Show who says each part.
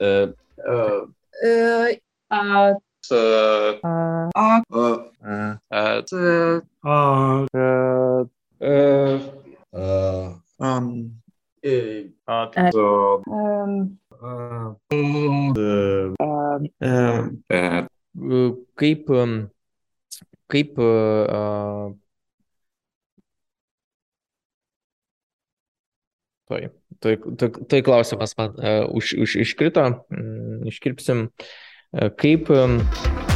Speaker 1: uh,
Speaker 2: uh,
Speaker 3: Uh,
Speaker 4: uh,
Speaker 2: uh,
Speaker 5: uh,
Speaker 2: uh,
Speaker 6: uh,
Speaker 2: uh, uh,
Speaker 7: uh,
Speaker 6: uh,
Speaker 2: uh,
Speaker 1: uh,
Speaker 6: um,
Speaker 5: Uh,
Speaker 2: uh,
Speaker 5: um,
Speaker 7: uh,
Speaker 1: uh,
Speaker 5: um,
Speaker 2: uh,
Speaker 6: uh, kaip, um, kaip, uh, uh, Tuoj, tuoj, tuoj, tuoj ehm, klausimas man uh, už, už, iškrito, mm, iškirpsim. E, Ehm, Kaip, em,